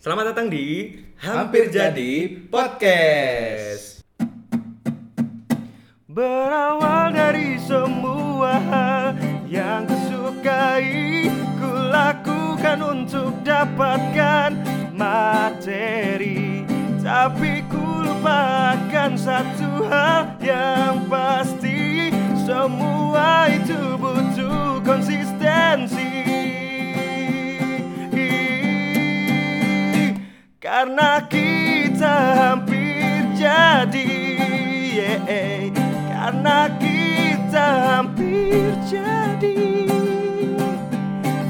Selamat datang di Hampir jadi podcast. Berawal dari semua hal yang kusukai Ku lakukan untuk dapatkan materi Tapi ku lupakan satu hal yang pasti Semua itu butuh konsistensi karena kita hampir jadi yeah. Karena kita hampir jadi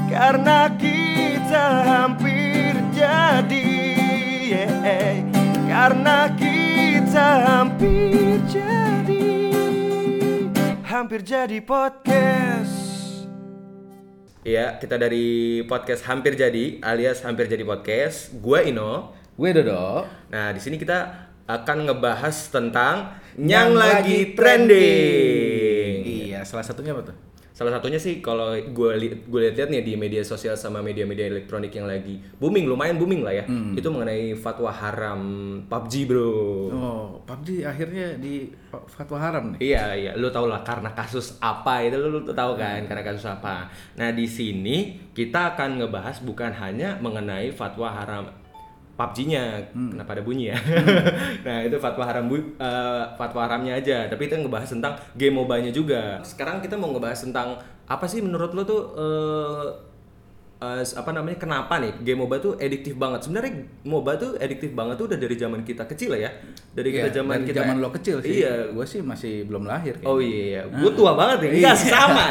Karena kita hampir jadi yeah. Karena kita hampir jadi Hampir jadi podcast Iya, kita dari podcast Hampir Jadi alias Hampir Jadi Podcast. Gua Ino. Gue Dodo. Nah, di sini kita akan ngebahas tentang Yang yang, lagi lagi trending. Iya, salah satunya apa tuh? Salah satunya sih kalau gue gue lihat-lihat nih di media sosial sama media-media elektronik yang lagi booming, lumayan booming lah ya. Hmm. Itu mengenai fatwa haram PUBG, Bro. Oh, PUBG akhirnya di fatwa haram nih. Iya iya, lu tau lah karena kasus apa itu lu, lu tahu kan Hmm. karena kasus apa. Nah di sini kita akan ngebahas bukan hanya mengenai fatwa haram PUBG-nya, Hmm. kenapa ada bunyi ya? nah itu fatwa haram bu- eh, fatwa haramnya aja, tapi kita ngebahas tentang game MOBA-nya juga. Sekarang kita mau ngebahas tentang apa sih menurut lu tuh eh, Eh, apa namanya kenapa nih game MOBA tuh ediktif banget sebenarnya MOBA tuh ediktif banget tuh udah dari zaman kita kecil lah ya dari kita Iya, zaman dari kita zaman lo kecil sih. iya Gue sih masih belum lahir. Oh iya, iya. gue tua banget ya. Iya, Iya. sama.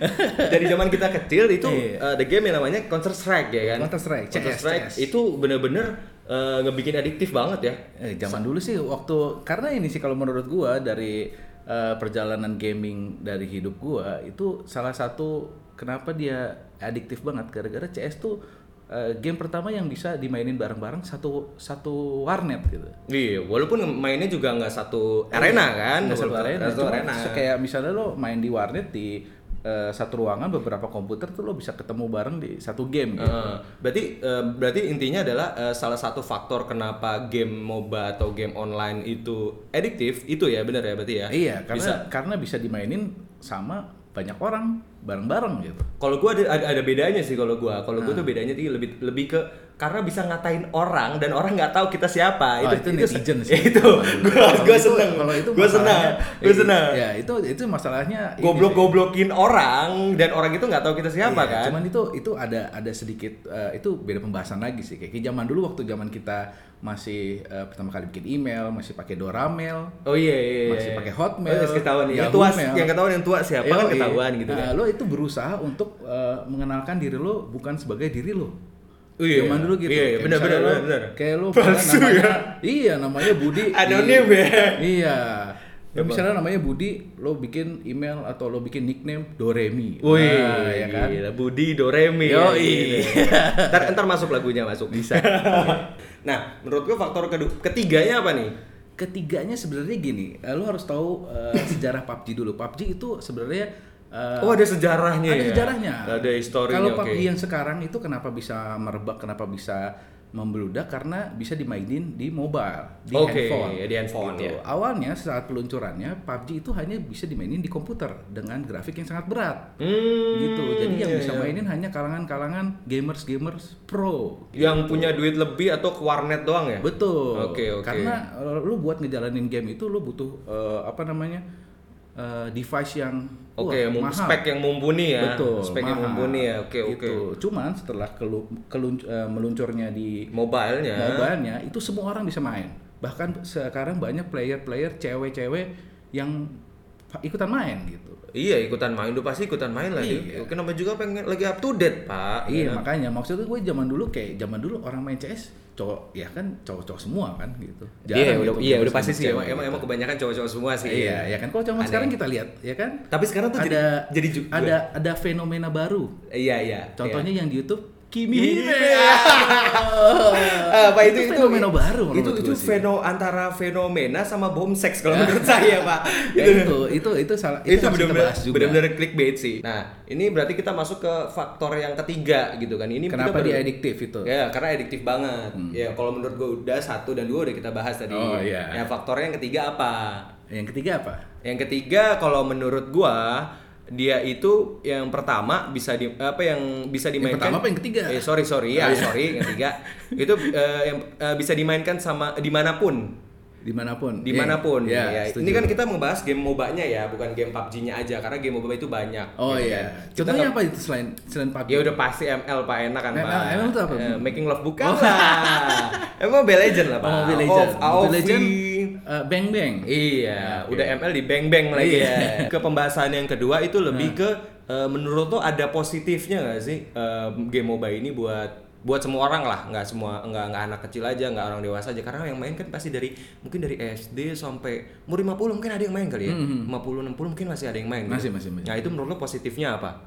Dari zaman kita kecil itu Iya. uh, the game yang namanya Counter Strike ya kan. Counter Strike, CS, Counter Strike CS. itu bener-bener uh, ngebikin adiktif banget ya. Eh, zaman dulu sih waktu karena ini sih kalau menurut gua dari eh, perjalanan gaming dari hidup gua itu salah satu kenapa dia adiktif banget gara-gara CS tuh eh, game pertama yang bisa dimainin bareng-bareng satu satu warnet gitu. Iya, walaupun mainnya juga nggak satu arena kan, Iya. Nggak satu Walaupun- arena, nggak satu cuma arena. se- kayak misalnya lo main di warnet di eh, satu ruangan beberapa komputer tuh lo bisa ketemu bareng di satu game gitu. Heeh. berarti eh, berarti intinya adalah eh, salah satu faktor kenapa game MOBA atau game online itu adiktif itu ya benar ya berarti ya. Iya, karena karena bisa dimainin sama banyak orang bareng-bareng gitu. Kalau gua ada, ada ada bedanya sih kalau gua. Kalau Ah. gua tuh bedanya tuh lebih lebih ke karena bisa ngatain orang dan orang nggak tahu kita siapa. Oh, itu netizen sih. Itu gua Kalau gua itu- seneng. Kalau itu gua seneng. masalahnya- Gua i- seneng. Ya, itu itu masalahnya ini sih. Goblok-goblokin orang dan orang itu nggak tahu kita siapa Iya, kan. Cuman itu itu ada ada sedikit eh, itu beda pembahasan lagi sih. Kayak kayak zaman dulu waktu zaman kita masih eh, pertama kali bikin email, masih pakai Doramel. Oh iya iya. iya. Masih pakai Oh, Hotmail, iya, ketahuan nih. Yang Yahoo tua Mail. yang ketahuan yang tua siapa kan Yoi. ketahuan gitu Nah, kan. Lo itu berusaha untuk eh, mengenalkan diri lo bukan sebagai diri lo. Iya. Zaman dulu Iya, gitu. iya, Kayak benar, misalnya benar, lo- benar. Kayak lo Palsu namanya, ya. Iya, namanya Budi. Anonim Iya. ya. Iya. Ya, misalnya namanya Budi, lo bikin email atau lo bikin nickname Wih, Doremi. Nah, ya kan? gila, Budi Doremi. Yoi. Gitu. ntar, ntar masuk lagunya masuk bisa. nah, menurut gua faktor kedua ketiganya apa nih? Ketiganya sebenarnya gini, eh, lo harus tahu eh, sejarah PUBG dulu. PUBG itu sebenarnya eh, Oh ada sejarahnya ada ya? sejarahnya. Ada historinya. Kalau oke. PUBG yang sekarang itu kenapa bisa merebak, kenapa bisa membeludak karena bisa dimainin di mobile, di Oke, handphone. ya, di handphone, Gitu. ya. Awalnya saat peluncurannya PUBG itu hanya bisa dimainin di komputer dengan grafik yang sangat berat. Hmm, gitu. Jadi yang iya, iya. bisa mainin hanya kalangan-kalangan gamers-gamers pro. yang punya duit lebih atau ke warnet doang ya? Betul. Oke, oke. Karena eh, lu buat ngejalanin game itu lu butuh eh, apa namanya? eh, device yang Oke, wah, mum- mahal. spek yang mumpuni ya. Betul. Spek yang mahal. mumpuni ya. Oke, oke. Gitu. Cuman setelah kelu- kelun- eh, meluncurnya di Mobilenya. mobile-nya itu semua orang bisa main. Bahkan sekarang banyak player-player cewek-cewek yang fa- ikutan main gitu. Iya, ikutan main. Udah pasti ikutan main lah. Iya. Kenapa juga pengen lagi up to date, Pak? Ya. Iya, makanya maksudnya gue zaman dulu kayak zaman dulu orang main CS cowok ya kan cowok-cowok semua kan gitu. Iya, Jarang udah, gitu iya, main udah sama pasti sih. cewek Emang, emang, gitu. emang kebanyakan cowok-cowok semua sih. Iya, ya kan kalau cuma Aneh. sekarang kita lihat ya kan Tapi sekarang tuh jadi- ada jadi ju- ada ada fenomena baru. Iya, iya. Contohnya yang di YouTube Kimi Kimi Hime. Hime. Apa Ah, itu Itu fenomena baru menurut Itu gua itu sih. Iya. feno antara fenomena sama bom seks kalau menurut saya, Pak. Ya, itu itu itu salah itu, itu harus kita benar-benar bahas juga. benar-benar clickbait sih. Nah, ini berarti kita masuk ke faktor yang ketiga gitu kan. Ini kita Kenapa baru- dia adiktif itu? Ya, karena adiktif banget. Ya, kalau menurut gue udah satu dan dua udah kita bahas tadi. Oh, iya. Nah, faktornya yang ketiga apa? Yang ketiga apa? Yang ketiga kalau menurut gua dia itu yang pertama bisa di apa yang bisa dimainkan pertama apa yang ketiga? Oh, iya. Eh sorry sorry ya sorry yang ketiga itu eh, yang eh, bisa dimainkan sama dimanapun Dimanapun. dimanapun Ya, ya. setuju. ini kan kita membahas game mobanya ya bukan game PUBG-nya aja karena game MOBA itu banyak Oh gitu iya. kan. Kita Contohnya nggak- apa itu selain selain PUBG? ya udah pasti ML pak enak kan ML, pak ML itu apa? Eh, making love bukan lah emang Mobile Legend lah pak Oh, Mobile Legend. Off, Mobile AOV. Legend, eh, Bang Bang. Iya, Oke. udah ML di beng beng lagi Iya. Nah. ya. Ke pembahasan yang kedua itu lebih ke eh, menurut lo ada positifnya nggak sih eh, game MOBA ini buat buat semua orang lah, nggak semua nggak nggak anak kecil aja, nggak orang dewasa aja karena yang main kan pasti dari mungkin dari SD sampai umur 50 mungkin ada yang main kali ya. 50 60 mungkin masih ada yang main. gitu. Hmm, Masih, masih, masih. Nah, itu menurut lo positifnya apa?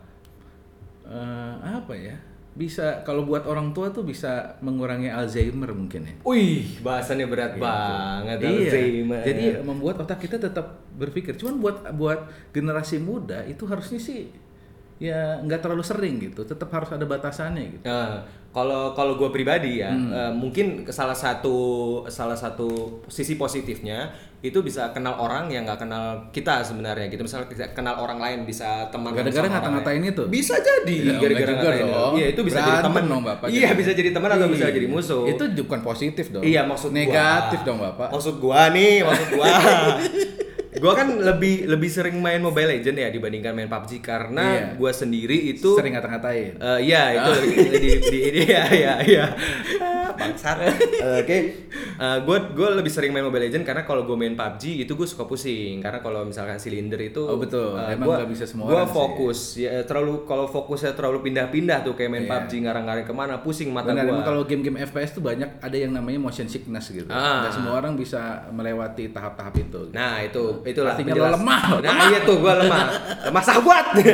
Eh, apa ya? Bisa kalau buat orang tua tuh bisa mengurangi Alzheimer mungkin ya. Wih, bahasannya berat banget. ya. Alzheimer. Iya, Jadi membuat otak kita tetap berpikir. Cuman buat buat generasi muda itu harusnya sih ya nggak terlalu sering gitu. Tetap harus ada batasannya gitu. Nah, kalau kalau gue pribadi ya Hmm. eh, mungkin salah satu salah satu sisi positifnya itu bisa kenal orang yang nggak kenal kita sebenarnya gitu misalnya bisa kenal orang lain bisa teman Gara-gara sama orang ngata-ngatain lain. itu? bisa jadi Ya, gara-gara nggak juga ngatain dong. iya itu bisa jadi Berantem teman dong, Bapak. iya bisa jadi teman atau bisa Iya. jadi musuh Itu bukan positif dong. Iya maksud gua. Oh, negatif dong bapak. Maksud gua nih, maksud gua. gua kan lebih lebih sering main Mobile Legend ya dibandingkan main PUBG karena Iya. gua sendiri itu Sering Eh, ngata-ngatain. Ah. iya itu di, di, di ya ya ya bangsat Eh, oke gue gue lebih sering main Mobile Legend karena kalau gue main PUBG itu gue gitu suka pusing karena kalau misalkan silinder itu Oh, betul. eh, Emang gua- nggak bisa semua gua orang sih. fokus ya terlalu kalau fokusnya terlalu pindah-pindah tuh kayak main Iya. PUBG ngarang-ngarang kemana pusing mata Benar, emang gue kalau game-game FPS tuh banyak ada yang namanya motion sickness gitu. Ah. Nggak semua orang bisa melewati tahap-tahap itu. Nah itu itulah Artinya penjelas- lo lemah, Nah iya tuh gue lemah, lemah sahabat.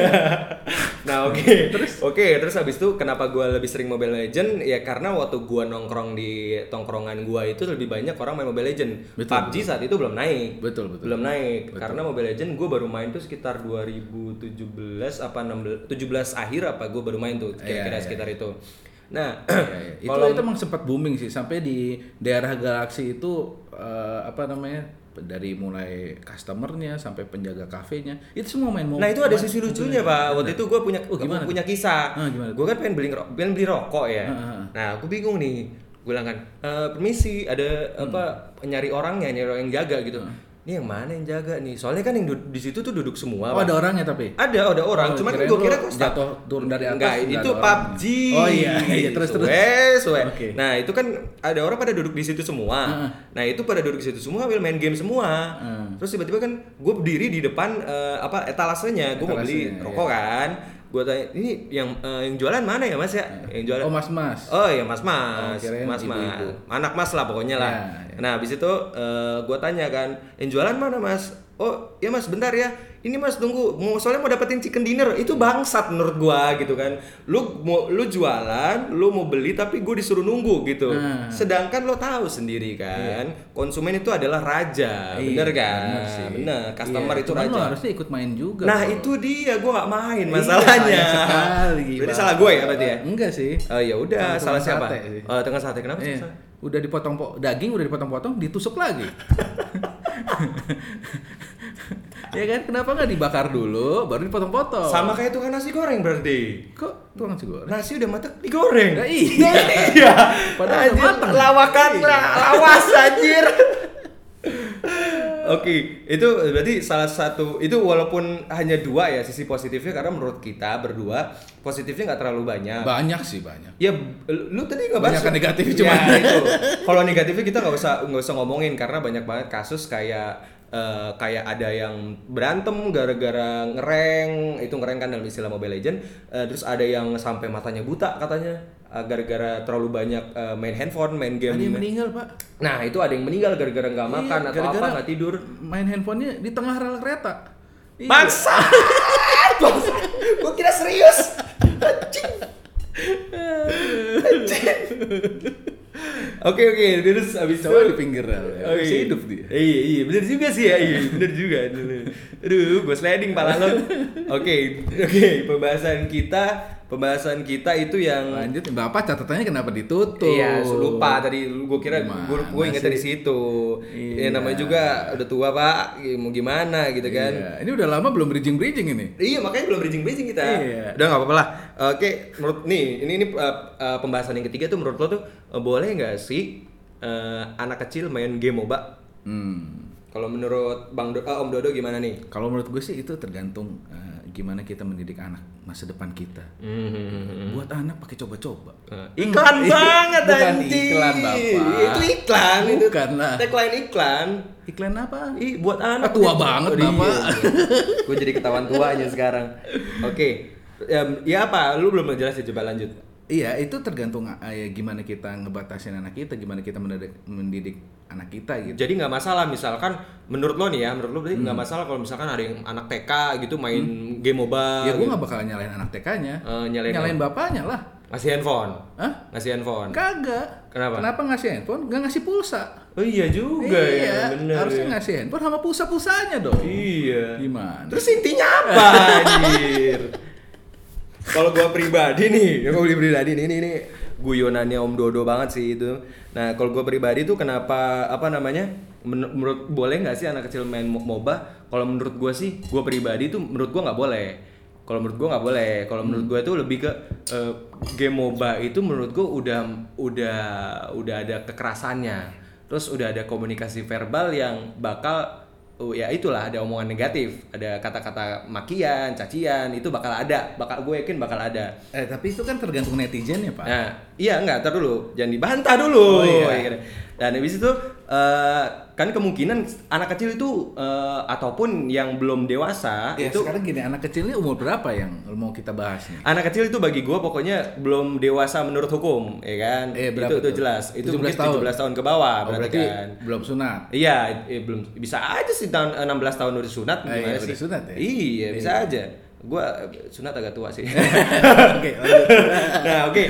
nah oke terus oke terus habis itu kenapa gue lebih sering Mobile Legend ya karena waktu gue nongkrong di tongkrongan gue itu lebih banyak orang main Mobile Legend. Betul, PUBG saat itu belum naik. Betul, betul. Belum naik karena Mobile Legend gue baru main tuh sekitar 2017 apa 16 17 akhir apa gue baru main tuh kira-kira sekitar itu. Nah Iya, iya. Itu itu emang sempat booming sih sampai di daerah galaksi itu eh, apa namanya? dari mulai customernya sampai penjaga kafenya itu semua main mobile. Nah itu ada sisi lucunya pak. Waktu itu gue punya oh, gua gimana punya kisah. Ah, gimana gue kan pengen beli ngero- pengen beli rokok ya. Ah, ah, ah. Nah aku bingung nih. Gue bilang kan, "Eh, permisi ada apa Hmm. nyari orangnya nyari orang yang jaga gitu. Ah. Ini yang mana yang jaga nih? Soalnya kan yang du- di situ tuh duduk semua. Oh, Pak. ada orangnya tapi. Ada ada orang. Oh, Cuman kirain gue kira lu kok jatuh turun dari atas, Enggak, nggak itu ada orang. PUBG. Oh, iya, iya, terus, terus. Suwe, suwe. Oke. Nah itu kan ada orang pada duduk di situ semua. Heeh. Nah itu pada duduk di situ semua ambil main game semua. Heeh. Terus tiba-tiba kan gue berdiri di depan eh, apa etalasenya. Gue mau beli Etalasenya, iya. rokok kan. Gue tanya ini yang eh, yang jualan mana ya mas ya? Yang jualan Oh, mas-mas. Oh iya mas mas, Oh, kirain mas mas, ibu-ibu. anak mas lah pokoknya lah. Ya, ya. Nah abis itu gue tanya kan, yang jualan mana mas? Oh ya mas bentar ya, ini mas tunggu, mau soalnya mau dapetin chicken dinner itu bangsat menurut gua gitu kan. Lu mau lu jualan, lu mau beli tapi gue disuruh nunggu gitu. Nah. Sedangkan lo tahu sendiri kan, konsumen itu adalah raja, Iya, bener kan? bener sih. Bener, customer Iya, itu cuman raja. lo harusnya ikut main juga. Nah bro. itu dia, gue gak main Iya, masalahnya. sayang sekali. Jadi Bang. salah gue ya berarti ya? Enggak sih. Oh ya udah, Sama salah tukang siapa? sate sih. Eh, tengah sate kenapa sih? Iya. Udah dipotong po- daging udah dipotong-potong ditusuk lagi. ya kan kenapa nggak dibakar dulu baru dipotong-potong? Sama kayak tukang nasi goreng berarti. kok tukang nasi goreng? Nasi udah matang digoreng. Nah, iya. iya. Padahal udah Anjir, matang. lawakan lah, Iya. lawas anjir. Oke, itu berarti salah satu itu walaupun hanya dua ya sisi positifnya karena menurut kita berdua positifnya nggak terlalu banyak. Banyak sih banyak. Ya, lu tadi nggak bahas Banyakan negatif Ya, cuma. itu. Kalau negatifnya kita nggak usah nggak usah ngomongin karena banyak banget kasus kayak eh, kayak ada yang berantem gara-gara ngereng itu ngereng kan dalam istilah Mobile Legend. Eh, terus ada yang sampai matanya buta katanya eh, gara-gara terlalu banyak eh, main handphone, main game. Ada yang meninggal pak. Nah itu ada yang meninggal gara-gara nggak Iya, makan atau gara-gara apa nggak tidur. Main handphonenya di tengah rel kereta. Iya. Bangsa! Gue kira serius. Anjing. Anjing. Oke oke, terus abis itu Coba di pinggir rel, ya. Oh, iya. Bisa hidup dia. Iya iya, bener juga sih ya, iya bener juga. Aduh, gue sliding pala lo. Oke oke, pembahasan kita pembahasan kita itu yang Lanjut, Bapak catatannya kenapa ditutup? Iya, lupa tadi gue kira Gimana gue gue ingat sih? dari situ. Ya Iya. namanya juga udah tua, Pak. Ya, Mau gimana gitu kan. Iya, ini udah lama belum bridging-bridging ini. Iya makanya belum bridging bridging kita. Iya. Udah nggak apa-apa lah. Oke, menurut nih ini ini uh, uh, pembahasan yang ketiga tuh menurut lo tuh uh, boleh nggak sih uh, anak kecil main game MOBA? Hmm. Kalau menurut Bang Do- uh, Om Dodo gimana nih? Kalau menurut gue sih itu tergantung eh, gimana kita mendidik anak masa depan kita. Buat anak pakai coba-coba. Iya. Uh, Iklan banget Hmm. Bukan anjing. iklan, Bapak. Itu iklan itu. Bukan lah. Tagline iklan. Iklan apa? Ih, buat anak Ah, tua banget, Bapak. Gue jadi ketahuan tuanya sekarang. Oke. Em, ya apa? Lu belum jelas ya coba lanjut. Iya, itu tergantung eh, gimana kita ngebatasin anak kita, gimana kita mendidik, mendidik anak kita gitu. Jadi nggak masalah misalkan menurut lo nih ya, menurut lo berarti nggak Hmm. masalah kalau misalkan ada yang anak TK gitu main game MOBA. ya gue gitu. nggak bakal nyalain anak TK-nya. Eh, nyalain bapaknya lah. ngasih handphone. Hah? Ngasih handphone. Kagak. Kenapa? Kan Kenapa ngasih handphone? Nggak ngasih pulsa. Oh iya juga iya, ya, bener. harusnya ya. ngasih handphone sama pulsa-pulsanya dong. Iya. Gimana? Terus intinya apa anjir? Kalau gua pribadi nih, ya gua pribadi nih ini ini guyonannya Om Dodo banget sih itu. Nah, kalau gua pribadi tuh kenapa apa namanya? men- menurut boleh nggak sih anak kecil main mo- MOBA? Kalau menurut gua sih, gua pribadi tuh menurut gua nggak boleh. Kalau menurut gua nggak boleh. Kalau menurut gua tuh lebih ke eh, game MOBA itu menurut gua udah udah udah ada kekerasannya. Terus udah ada komunikasi verbal yang bakal Oh, ya itulah ada omongan negatif, ada kata-kata makian, cacian itu bakal ada, bakal gue yakin bakal ada. Eh, tapi itu kan tergantung netizen ya, Pak. Nah, iya enggak, ntar dulu, jangan dibantah dulu. Oh, iya. Dan habis itu eh, kan kemungkinan anak kecil itu eh, ataupun yang belum dewasa Iya, Ya, itu sekarang gini, anak kecilnya umur berapa yang mau kita bahas nih? anak kecil itu bagi gue pokoknya belum dewasa menurut hukum, ya kan? Eh, itu berapa itu tuh? jelas. Itu 17 mungkin tahun. 17 tahun ke bawah Oh, berarti, berarti kan. belum sunat. Iya, eh, belum bisa aja sih tahun eh, 16 tahun udah sunat Eh, gimana iya, sih? udah sunat ya? Iya, bisa aja. Gua eh, sunat agak tua sih. Oke, lanjut. nah, oke.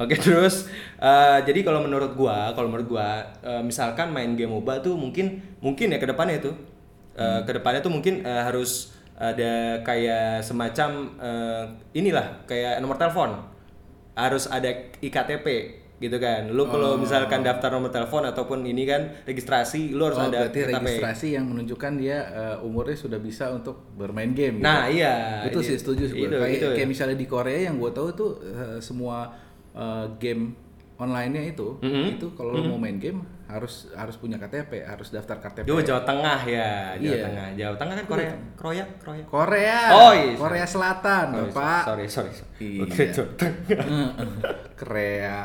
Oke, terus eh, jadi kalau menurut gua, kalau menurut gua eh, misalkan main game MOBA tuh mungkin mungkin ya ke depannya itu Eh, Hmm. ke depannya tuh mungkin eh, harus ada kayak semacam eh, inilah kayak nomor telepon. Harus ada IKTP gitu kan. Lu Oh. kalau misalkan daftar nomor telepon ataupun ini kan registrasi, lu harus Oh, ada berarti registrasi yang menunjukkan dia eh, umurnya sudah bisa untuk bermain game. gitu. Nah iya itu sih setuju sih. gue. Itu, kayak, itu. kayak misalnya di Korea yang gue tahu tuh eh, semua eh, game online-nya itu Mm-hmm. itu kalau lo mau main game harus harus punya KTP, harus daftar KTP. Yo, Jawa Tengah ya Jawa Iya. Tengah Jawa Tengah kan Korea Korea Korea Korea. Oh, iya. Korea Selatan, Sorry, Bapak. sorry sorry, sorry. Iya. Oke, Jawa Tengah. Korea.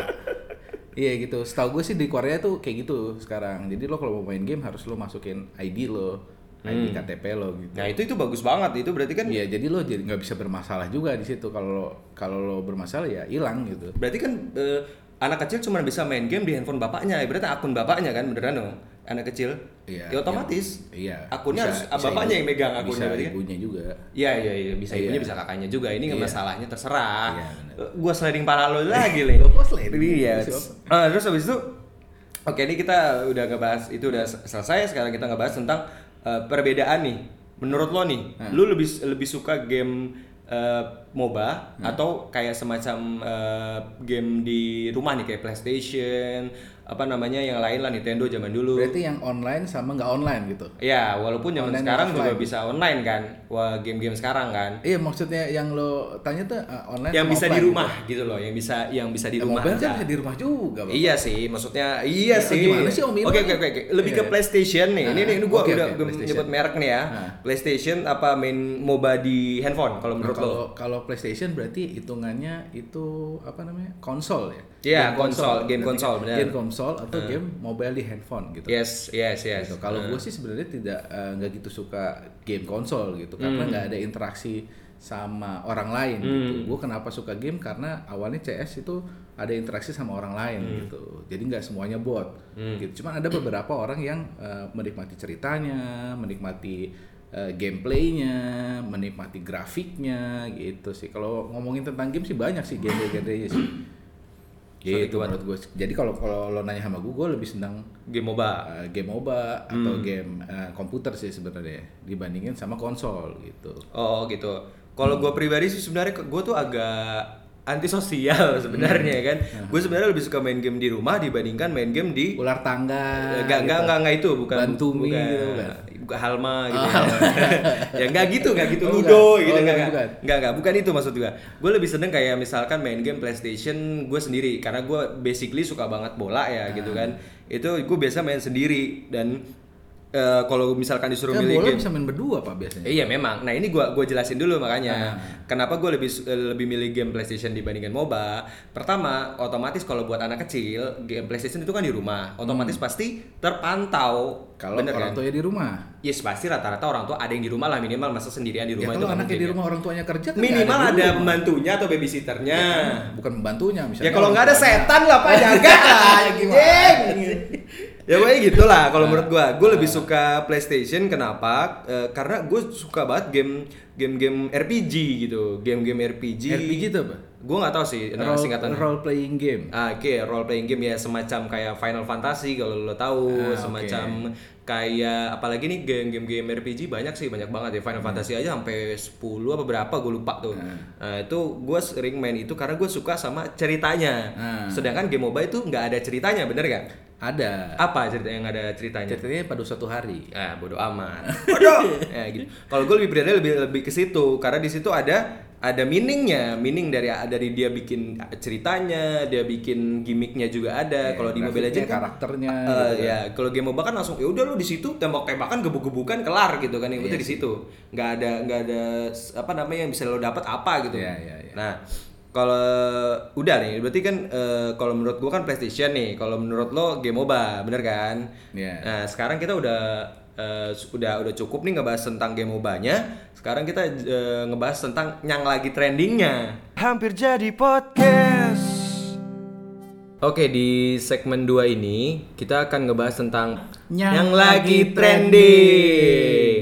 Iya gitu. Setahu gue sih di Korea tuh kayak gitu sekarang. Jadi lo kalau mau main game harus lo masukin ID lo, ID KTP lo gitu. Nah itu itu bagus banget itu berarti kan Iya, jadi lo jadi nggak bisa bermasalah juga di situ kalau lo kalau lo bermasalah ya hilang gitu. berarti kan eh, anak kecil cuma bisa main game di handphone bapaknya Ya berarti akun bapaknya kan beneran dong anak kecil Iya. ya ototis Iya. akunnya bisa- harus bisa bapaknya ibu- yang megang akunnya Bisa berarti kan? ibunya juga. Iya iya iya bisa Iya. ibunya bisa kakaknya juga ini nggak Iya. masalahnya terserah. Iya, Eh, Gua sliding pala lo lagi nih. Gua kok sliding? Iya. Siapa? Eh, terus habis itu oke ini kita udah ngebahas itu udah sel- selesai sekarang kita ngebahas tentang eh, perbedaan nih. Menurut lo nih, Hmm. lu lebih lebih suka game eh, MOBA Hmm. atau kayak semacam eh, game di rumah nih kayak PlayStation apa namanya yang lain lah Nintendo zaman dulu. Berarti yang online sama nggak online gitu. Ya, walaupun zaman Online dan sekarang juga offline. bisa online kan. Wah, game-game sekarang kan. Iya, maksudnya yang lo tanya tuh eh, online yang sama bisa di offline rumah gitu. loh, yang bisa yang bisa di Gitu. Ya, rumah. mobile aja. kan bisa di rumah juga, Bang. Iya sih, maksudnya iya Ya, sih. gimana sih Om Iwan? Oke oke oke, oke. lebih ke Iya. PlayStation nih. ini Ah, nih, ini gua oke, udah oke, gua PlayStation. nyebut merek nih ya. Ah. PlayStation apa main MOBA di handphone kalau Nah, menurut lo? kalau kalau PlayStation berarti hitungannya itu apa namanya? konsol ya. Iya, Game konsol, game Berarti konsol, benar. Eh. Game konsol atau game mobile di handphone gitu. Yes, yes, yes. Gitu. Kalau gue sih sebenarnya tidak eh, nggak gitu suka game konsol gitu karena nggak ada interaksi sama orang lain gitu. Gue kenapa suka game karena awalnya CS itu ada interaksi sama orang lain gitu. Jadi nggak semuanya bot. Gitu. Cuman ada beberapa orang yang eh, menikmati ceritanya, menikmati eh, gameplaynya, menikmati grafiknya gitu sih. Kalau ngomongin tentang game sih banyak sih genre-genrenya sih. Suatu Gitu menurut gue. Jadi kalau kalau lo nanya sama gue, gue lebih senang Game MOBA. uh, game MOBA atau Hmm. game uh, komputer sih sebenarnya dibandingin sama konsol gitu. Oh gitu. Hmm. Kalau gue pribadi sih sebenarnya gue tuh agak antisosial Hmm. sebenarnya kan. Nah. Gue sebenarnya lebih suka main game di rumah dibandingkan main game di Ular tangga. Enggak, enggak, enggak, enggak itu bukan Iya, gitu. Bantu mie bukan, gitu, bukan. bukan Halma gitu. ya enggak gitu, enggak gitu Oh, Ludo bukan. gitu enggak, Oh, bukan, enggak. bukan. Enggak, enggak, bukan itu maksud gua. Gue lebih seneng kayak misalkan main game PlayStation gue sendiri karena gue basically suka banget bola ya gitu Ah. kan. Itu gue biasa main sendiri dan eh, kalau misalkan disuruh Kan milih bola game bisa main berdua pak biasanya. Iya memang. Nah ini gua gua jelasin dulu makanya kenapa gua lebih su- eh, lebih milih game PlayStation dibandingkan MOBA. Pertama, otomatis kalau buat anak kecil game PlayStation itu kan di rumah, otomatis pasti terpantau. Hmm. Kalau kan? orang tuanya di rumah. Yes pasti rata-rata orang tua ada yang di rumah lah minimal masa sendirian di Ya rumah itu kalau nggak anaknya mungkin, di ya. rumah orang tuanya kerja kan Minimal nggak ada di rumah. pembantunya atau babysitternya. Ya, bukan membantunya misalnya. Ya kalau orang nggak ada tuanya. setan lah pak jaga anjing. ya pokoknya gitulah kalau menurut gua. Gua lebih suka PlayStation kenapa? Eh, karena gue suka banget game game-game RPG gitu, game-game RPG. RPG itu apa? Gue nggak tahu sih nah, role, singkatannya. role playing game. Ah, Oke, role playing game ya semacam kayak Final Fantasy kalau lo tahu, Ah, oke. semacam kayak apalagi nih game-game game RPG banyak sih, banyak banget ya Final Hmm. Fantasy aja sampai 10 apa berapa gue lupa tuh. Nah, itu gue sering main itu karena gue suka sama ceritanya. Ah. Sedangkan game MOBA itu nggak ada ceritanya, bener nggak? Ada. Apa cerita yang ada ceritanya? Ceritanya pada suatu hari. ah bodo amat. Bodoh. ya, gitu. Kalau gue lebih berada lebih lebih ke situ karena di situ ada ada meaningnya, meaning dari dari dia bikin ceritanya, dia bikin gimmicknya juga ada. Ya, kalau di Mobile grafiknya, Legends kan, karakternya, eh, gitu kan. ya kalau game MOBA kan langsung ya udah lu di situ tembak-tembakan gebuk-gebukan kelar gitu kan yang Iya penting di situ. nggak ada nggak ada s- apa namanya yang bisa lo dapat apa gitu. Iya, iya, iya. Nah, kalau udah nih, berarti kan eh, kalau menurut gua kan PlayStation nih. Kalau menurut lo game MOBA, bener kan? Iya. Nah, sekarang kita udah eh, su- udah udah cukup nih ngebahas tentang game MOBA-nya. Sekarang kita eh, ngebahas tentang yang lagi trendingnya. Hampir jadi podcast. Oke, di segmen 2 ini kita akan ngebahas tentang Yang yang lagi lagi trending.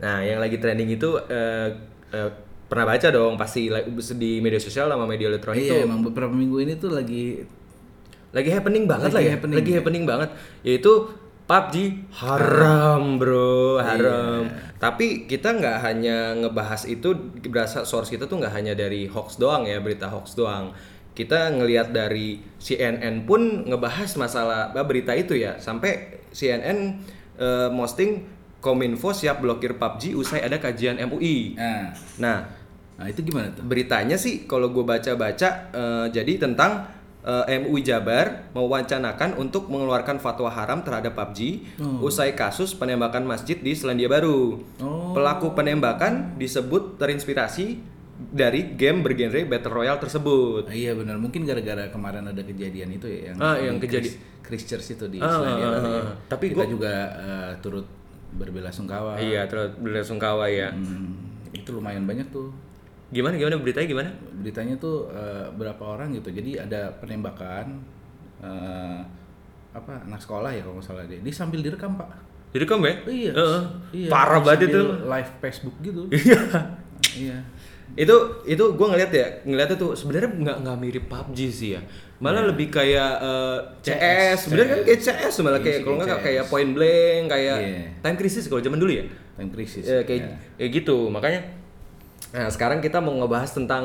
Nah, yang lagi trending itu eh, eh, pernah baca dong pasti like, di media sosial sama media elektronik tuh Iya, emang beberapa minggu ini tuh lagi lagi happening banget Lagi lah ya happening. lagi happening banget yaitu PUBG haram bro haram Iya. tapi kita nggak hanya ngebahas itu berasa source kita tuh nggak hanya dari hoax doang ya berita hoax doang kita ngelihat dari CNN pun ngebahas masalah bah, berita itu ya sampai CNN eh, posting Kominfo siap blokir PUBG usai ada kajian MUI Nah, nah nah itu gimana tuh? beritanya sih kalau gue baca-baca eh, jadi tentang eh, MUI Jabar mewacanakan untuk mengeluarkan fatwa haram terhadap PUBG usai kasus penembakan masjid di Selandia Baru. Oh. Pelaku penembakan disebut terinspirasi dari game bergenre battle royale tersebut. Ah, iya benar, mungkin gara-gara kemarin ada kejadian itu ya yang Ah, yang di kejadi- Chris- Chris Church itu di Ah, Selandia ah, ah, Baru ya. ah. Tapi kita gua- juga eh, turut berbelasungkawa. Iya, terus belasungkawa ya. Ah. Hmm, itu lumayan banyak tuh Gimana gimana beritanya gimana? beritanya tuh eh, berapa orang gitu. Jadi ada penembakan eh, apa anak sekolah ya kalau nggak salah dia. Ini sambil direkam pak. Jadi kamu ya? Iya. Heeh. iya. Parah banget itu. Sambil Live Facebook gitu. iya. itu itu gue ngeliat ya ngeliatnya tuh sebenarnya nggak nggak mirip PUBG sih ya malah Iya. lebih kayak eh, CS sebenarnya kan kayak CS malah Iya kayak sih, kalau nggak kayak kayak Point Blank kayak Iya. Time Crisis kalau zaman dulu ya Time crisis. Ya, kayak ya. kayak gitu makanya nah sekarang kita mau ngebahas tentang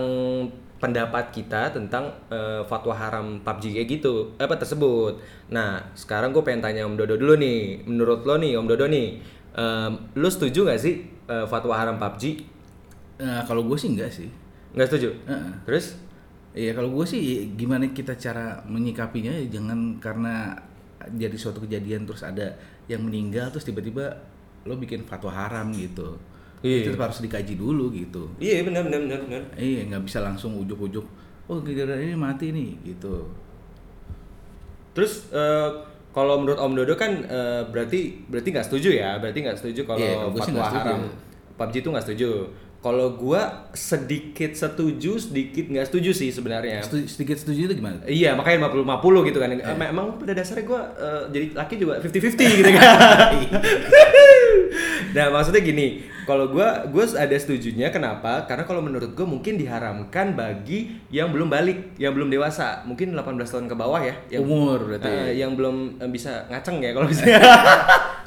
pendapat kita tentang eh, fatwa haram PUBG kayak gitu apa tersebut nah sekarang gue pengen tanya Om Dodo dulu nih menurut lo nih Om Dodo nih em, lo setuju nggak sih eh, fatwa haram PUBG Nah, kalau gue sih enggak sih. nggak setuju Heeh. terus Iya kalau gue sih gimana kita cara menyikapinya ya jangan karena jadi suatu kejadian terus ada yang meninggal terus tiba-tiba lo bikin fatwa haram gitu. Iya. Itu harus dikaji dulu gitu. Iya benar benar benar benar. Iya nggak bisa langsung ujuk-ujuk. Oh gara-gara ini mati nih gitu. Terus eh, kalau menurut Om Dodo kan eh, berarti berarti nggak setuju ya, berarti nggak setuju kalau Iya, kalau gue sih fatwa nggak setuju. haram PUBG itu nggak setuju. Kalau gua sedikit setuju, sedikit nggak setuju sih sebenarnya. Setuju- sedikit setuju itu gimana? Iya, makanya 50-50 gitu kan. Em- Emang pada dasarnya gue jadi laki juga 50-50 gitu kan. nah, maksudnya gini, kalau gua gue ada setujunya kenapa? Karena kalau menurut gue mungkin diharamkan bagi yang belum balik, yang belum dewasa, mungkin 18 tahun ke bawah ya, yang Umur berarti. eh, yang belum eh, bisa ngaceng ya kalau bisa.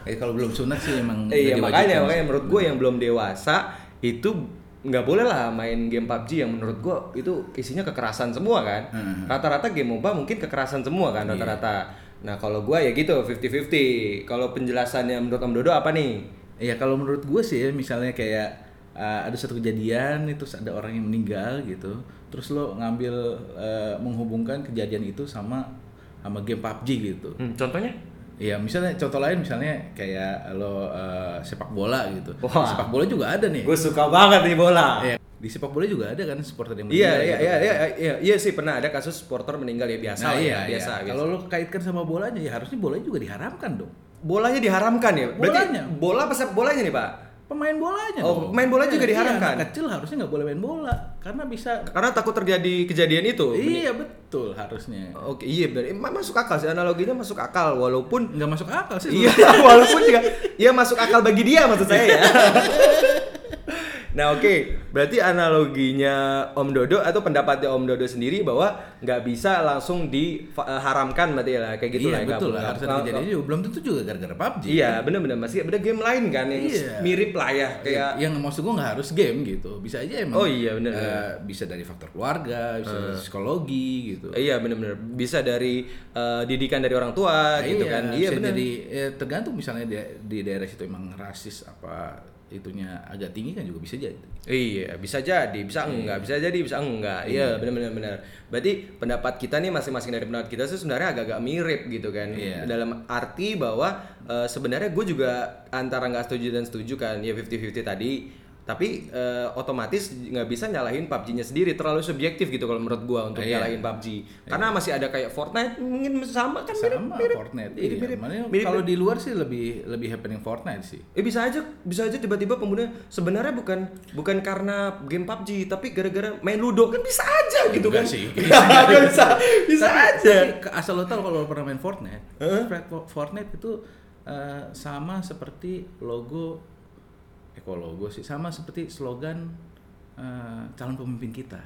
Eh, kalau belum sunat sih emang Eh, Iya makanya nggak diwajibkan Hmm. makanya sih. menurut gue yang belum dewasa itu nggak boleh lah main game PUBG yang menurut gue itu isinya kekerasan semua kan. Hmm. Iya. Rata-rata game MOBA mungkin kekerasan semua kan rata-rata. Nah kalau gue ya gitu 50-50. Kalau penjelasannya menurut Om Dodo apa nih? Ya kalau menurut gue sih ya, misalnya kayak uh, ada satu kejadian itu ada orang yang meninggal gitu. Terus lo ngambil uh, menghubungkan kejadian itu sama sama game PUBG gitu. Hmm, contohnya? Ya misalnya contoh lain misalnya kayak lo uh, sepak bola gitu. Wah. Sepak bola juga ada nih. Gue suka banget nih bola. Ya, di sepak bola juga ada kan supporter Iya yang iya meninggal gitu. iya iya iya iya sih pernah ada kasus supporter meninggal ya biasa Nah, lah ya, iya, biasa. iya. biasa. Kalau lo kaitkan sama bolanya ya harusnya bolanya juga diharamkan dong. bolanya diharamkan ya? Berarti Bolanya. bola pesepak bolanya nih pak? Pemain bolanya Oh, dong. pemain bola Iya, juga iya, diharamkan? anak kecil harusnya nggak boleh main bola karena bisa Karena takut terjadi kejadian itu. Iya betul harusnya. Oke, iya benar. Eh, ma- Masuk akal sih analoginya masuk akal walaupun Nggak masuk akal sih. iya walaupun juga ya masuk akal bagi dia maksud saya ya. nah, oke. Berarti analoginya Om Dodo atau pendapatnya Om Dodo sendiri bahwa nggak bisa langsung diharamkan berarti ya lah kayak gitu iya lah. betul lah. Nggak- Harus ada nggak- kejadian juga. Belum tentu juga gara-gara PUBG. Iya, benar-benar masih ada game lain kan yang Iya. mirip lah ya kayak Yang maksud gue nggak harus game gitu. Bisa aja emang. Oh, iya, bener, eh, bener. Eh. bisa dari faktor keluarga, bisa dari psikologi gitu. Iya benar-benar bisa dari eh, didikan dari orang tua gitu kan. Iya Nah, bisa benar. Jadi eh, tergantung misalnya di, di daerah situ emang rasis apa itunya agak tinggi kan juga bisa jadi. Iya, bisa jadi, bisa enggak, bisa jadi, bisa enggak. Iya, benar-benar benar. Berarti pendapat kita nih masing-masing dari pendapat kita tuh sebenarnya agak-agak mirip gitu kan. Iya. Dalam arti bahwa eh, sebenarnya gue juga antara nggak setuju dan setuju kan, ya 50-50 tadi. Tapi eh, otomatis nggak bisa nyalahin PUBG-nya sendiri, terlalu subjektif gitu kalau menurut gua untuk Iya. nyalahin PUBG. Karena masih ada kayak Fortnite mungkin sama kan mirip, Sama mirip. Fortnite. Mirip, iya. mirip. Makanya Mirip, Kalau di luar sih lebih lebih happening Fortnite sih. Eh bisa aja, bisa aja tiba-tiba pembunuh sebenarnya bukan bukan karena game PUBG, tapi gara-gara main Ludo kan bisa aja gitu kan? Enggak sih. Enggak bisa, bisa aja. Tapi ke- asal lo tau kalau lo pernah main Fortnite, Fort- Fortnite itu eh, sama seperti logo, eh kok logo sih, sama seperti slogan eh, calon pemimpin kita.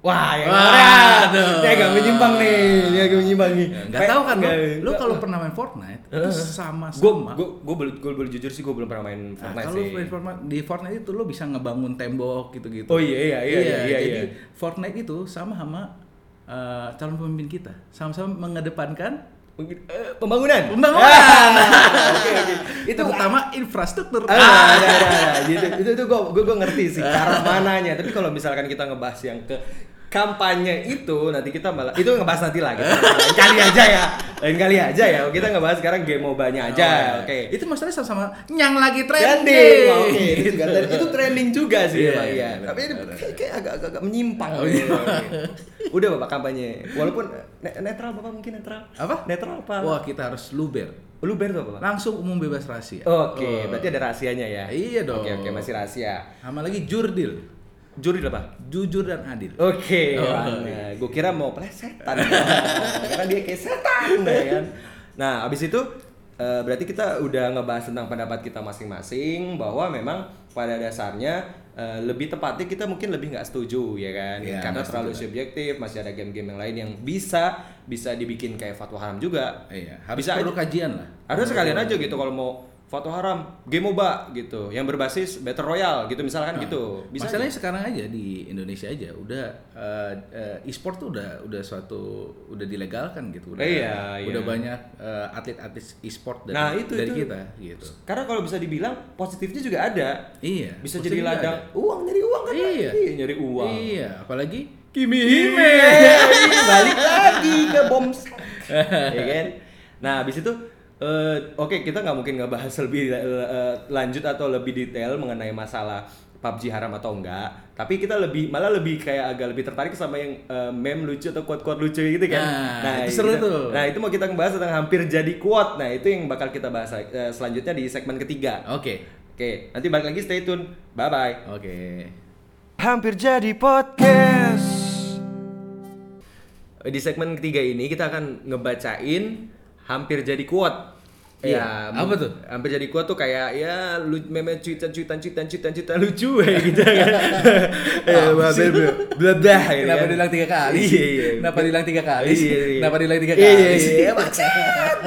Wah, ya Wah, Wah, aduh. dia agak menyimpang nih, dia agak menyimpang nih. Gak tau kan lo, lo kalau pernah main Fortnite itu sama gue sama. gue gue belum gue belum jujur sih gue belum pernah main Nah, Fortnite kalau sih. main Fortnite- di Fortnite itu lo bisa ngebangun tembok gitu-gitu. Oh iya iya iya iya iya. jadi Fortnite itu sama sama eh, calon pemimpin kita, sama-sama mengedepankan Mungkin- eh, pembangunan. Oke pembangunan. Ah, oke. itu terutama infrastruktur. Ah, nah, nah, nah, gitu. Itu itu gua gua, gua ngerti sih Ah. ke arah mananya. Tapi kalau misalkan kita ngebahas yang ke kampanye itu nanti kita malah itu ngebahas nanti lah gitu. Lain kali aja ya. Lain kali aja ya. Kita ngebahas sekarang game MOBA-nya aja. Oh, Oke. Itu masalahnya sama-sama nyang lagi Trending. trending. Oh, Oke, itu juga. Dan itu trending juga sih Iya, Pak, iya, iya. benar, Tapi ini benar. Oh, iya. kayak- kayak agak agak menyimpang. gitu. Udah Bapak kampanye. Walaupun ne- netral Bapak mungkin netral. Apa? Netral apa? Wah, kita harus luber. Lu ber tuh apa, Bapak? Langsung umum bebas rahasia. Oke, Oh. berarti ada rahasianya ya. Iya dong. Oke, oke, masih rahasia. Sama lagi jurdil. Juri lah, Pak. Jujur dan adil. Oke, Oh. gue kira mau plesetan, karena dia kayak setan, ya kan? Nah, abis itu eh, berarti kita udah ngebahas tentang pendapat kita masing-masing bahwa memang pada dasarnya eh, lebih tepatnya kita mungkin lebih nggak setuju ya kan Iya, karena nggak terlalu setuju. subjektif masih ada game-game yang lain yang bisa bisa dibikin kayak fatwa haram juga Iya, harus Bisa perlu kajian lah. ada sekalian aja gitu kalau mau fatwa haram game MOBA gitu yang berbasis battle royale gitu misalkan gitu bisa aja. Nah, Masalahnya sekarang aja di Indonesia aja udah eh, eh, e-sport tuh udah udah suatu udah dilegalkan gitu. Udah, Iya, iya. udah banyak eh, atlet-atlet e-sport dari, Nah, itu- dari itu. kita gitu. Karena kalau bisa dibilang positifnya juga ada. Iya. Bisa maksudnya jadi juga ladang ada. uang nyari uang kan. Iya. nyari uang. Iya, apalagi Kimi Hime. Balik lagi ke bom sack. ya kan? Nah, habis itu eh, oke kita nggak mungkin nggak bahas lebih eh, lanjut atau lebih detail mengenai masalah PUBG haram atau enggak, tapi kita lebih malah lebih kayak agak lebih tertarik sama yang eh, meme lucu atau quote-quote lucu gitu kan. Nah, itu seru kita- tuh. Nah, itu mau kita bahas tentang hampir jadi quote. Nah, itu yang bakal kita bahas eh, selanjutnya di segmen ketiga. Oke. Oke, nanti balik lagi stay tune. Bye bye. Oke. Hampir jadi podcast. Eh, Di segmen ketiga ini kita akan ngebacain hampir jadi quote. Ya, Iya, apa tuh? Hampir jadi quote tuh kayak ya lu meme cuitan cuitan cuitan cuitan cuitan lucu kayak gitu kan. Eh, hampir blah blah gitu Iya. Kenapa kan. diulang tiga kali? Iya, iya. Kenapa diulang tiga kali? Iya, iya. Kenapa diulang tiga Iya, kali? Iya, iya, iya, maksud.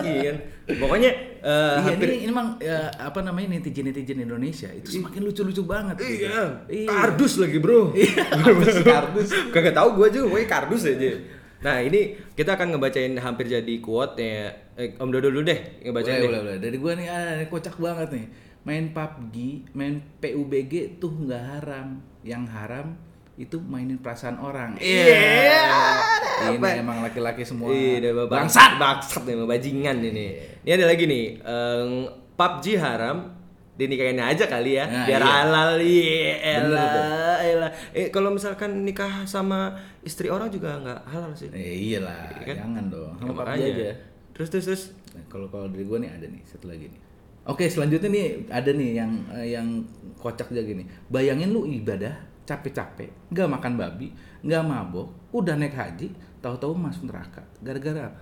Iya kan. Pokoknya eh, Iya, hampir ini, ini emang eh, apa namanya netizen-netizen Indonesia itu semakin lucu-lucu banget. gitu. Iya, Iya. kardus lagi bro. Kardus, kardus. Kagak tahu gue juga, pokoknya kardus aja. Nah ini kita akan ngebacain hampir jadi quote ya. Eh, Om Dodo dulu deh ngebacain Boleh, deh. boleh, boleh. Dari gua nih, ah, ini kocak banget nih. Main PUBG, main PUBG tuh nggak haram. Yang haram itu mainin perasaan orang. Iya, Ini apa? emang laki-laki semua. Iya, udah bapak- bangsat, bangsat nih, bajingan ini. Ini ada lagi nih, eh, PUBG haram dinikahinnya aja kali ya, Nah, biar iya. halal iya Bener tuh. elah, elah. Eh kalau misalkan nikah sama istri orang juga nggak halal sih. Eh, iyalah, Iya kan? jangan dong. Ya, Sama PUBG makanya. aja. Terus terus terus. Nah, kalau kalau dari gua nih ada nih satu lagi nih. Oke, selanjutnya nih ada nih yang eh, yang kocak juga gini. Bayangin lu ibadah capek-capek, nggak makan babi, nggak mabok, udah naik haji, tahu-tahu masuk neraka. Gara-gara apa?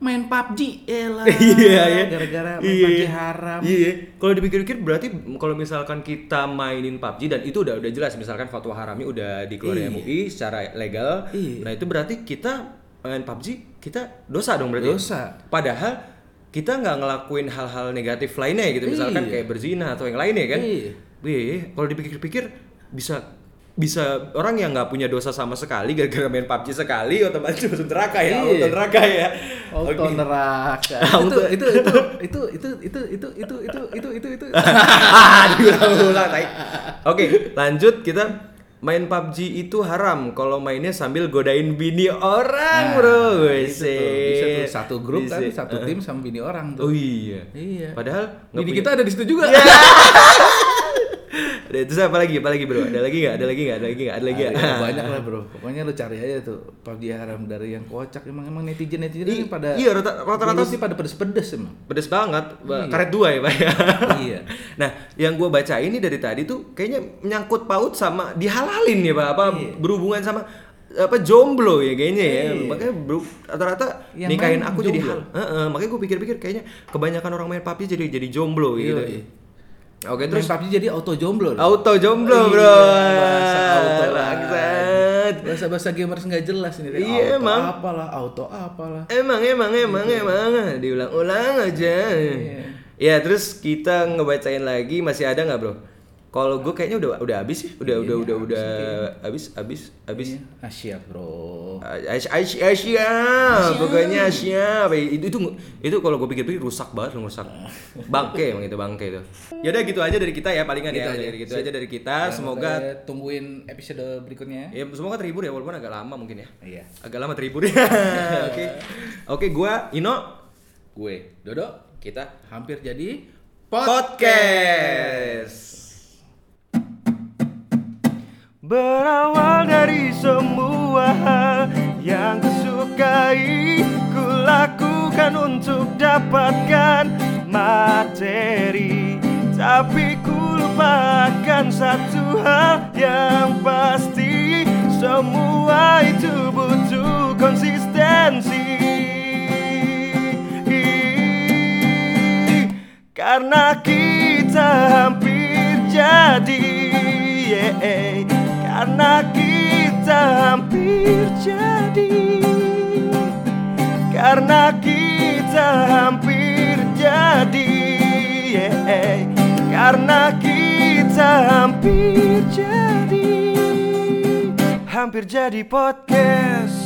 Main PUBG, elah. Iya ya. Gara-gara main Iya. PUBG haram. Iya. Kalau dipikir-pikir berarti kalau misalkan kita mainin PUBG dan itu udah udah jelas misalkan fatwa haramnya udah dikeluarin Iya. MUI secara legal. Iya. Nah, itu berarti kita main PUBG kita dosa dong berarti. ya? Dosa. Padahal kita nggak ngelakuin hal-hal negatif lainnya gitu misalkan Iya. kayak berzina atau yang lainnya kan. Iya. Iya, kalau dipikir-pikir bisa bisa orang yang nggak punya dosa sama sekali gara-gara main PUBG sekali otomatis masuk neraka ya, Iya. auto neraka ya. Auto Oke. neraka. itu, Auto- itu, itu, itu, itu, itu, itu, itu, itu, itu, itu, itu. Ah, diulang-ulang tai. Oke, lanjut kita main PUBG itu haram kalau mainnya sambil godain bini orang, Bro. Nah, Itu tuh, bisa tuh Buset. satu grup kan, Buset. satu tim sama bini orang tuh. Oh iya. Iya. Padahal nggak Bini punya- Iya. kita ada di situ juga. Ada- Terus apa lagi? Apa lagi, Bro? Ada lagi nggak? Ada lagi nggak? Ada lagi nggak? Ada lagi nggak? Ah. Ada banyak lah bro. Pokoknya lu cari aja tuh PUBG haram dari yang kocak emang emang netizen netizen I- ini pada iya, rata- rata-rata sih pada pedes-pedes emang. Pedes banget, Pak. karet dua ya, Pak. ya? Iya. Nah, yang gue baca ini dari tadi tuh kayaknya menyangkut paut sama dihalalin ya, Pak. Apa Iya. berhubungan sama apa jomblo ya kayaknya ya. Makanya bro, rata-rata Yang nikahin main aku jadi hal. jomblo. Heeh, makanya gue pikir-pikir kayaknya kebanyakan orang main PUBG jadi jadi jomblo gitu. Iya. Oke, Terus terus PUBG jadi auto jomblo. loh. auto jomblo, Iya, Bro. Bahasa auto Bangsat. Bahasa bahasa gamers nggak jelas ini. Iya, auto emang. Apalah auto apalah. Emang, emang, emang, Gitu. emang, diulang-ulang aja. Iya. Ya terus kita ngebacain lagi masih ada nggak bro? Kalau gue kayaknya udah udah habis sih, udah Iya, udah udah udah habis habis habis. Ah siap bro. Asia, Asia, Asia, pokoknya Asia. Itu itu itu kalau gue pikir-pikir rusak banget, rusak. Bangke emang itu bangke itu. Yaudah gitu aja dari kita ya palingan Gitu ya, aja. dari gitu aja dari kita. Dan Semoga makanya tungguin episode berikutnya. ya semoga terhibur ya walaupun agak lama mungkin ya. Iya. Agak lama terhibur ya. Oke, oke gue Ino. Gue Dodo Kita hampir jadi podcast. Berawal dari semua hal yang kusukai Ku lakukan untuk dapatkan materi Tapi ku lupakan satu hal yang pasti Semua itu butuh konsistensi karena kita hampir jadi yeah. Karena kita hampir jadi Karena kita hampir jadi yeah. Karena kita hampir jadi Hampir jadi podcast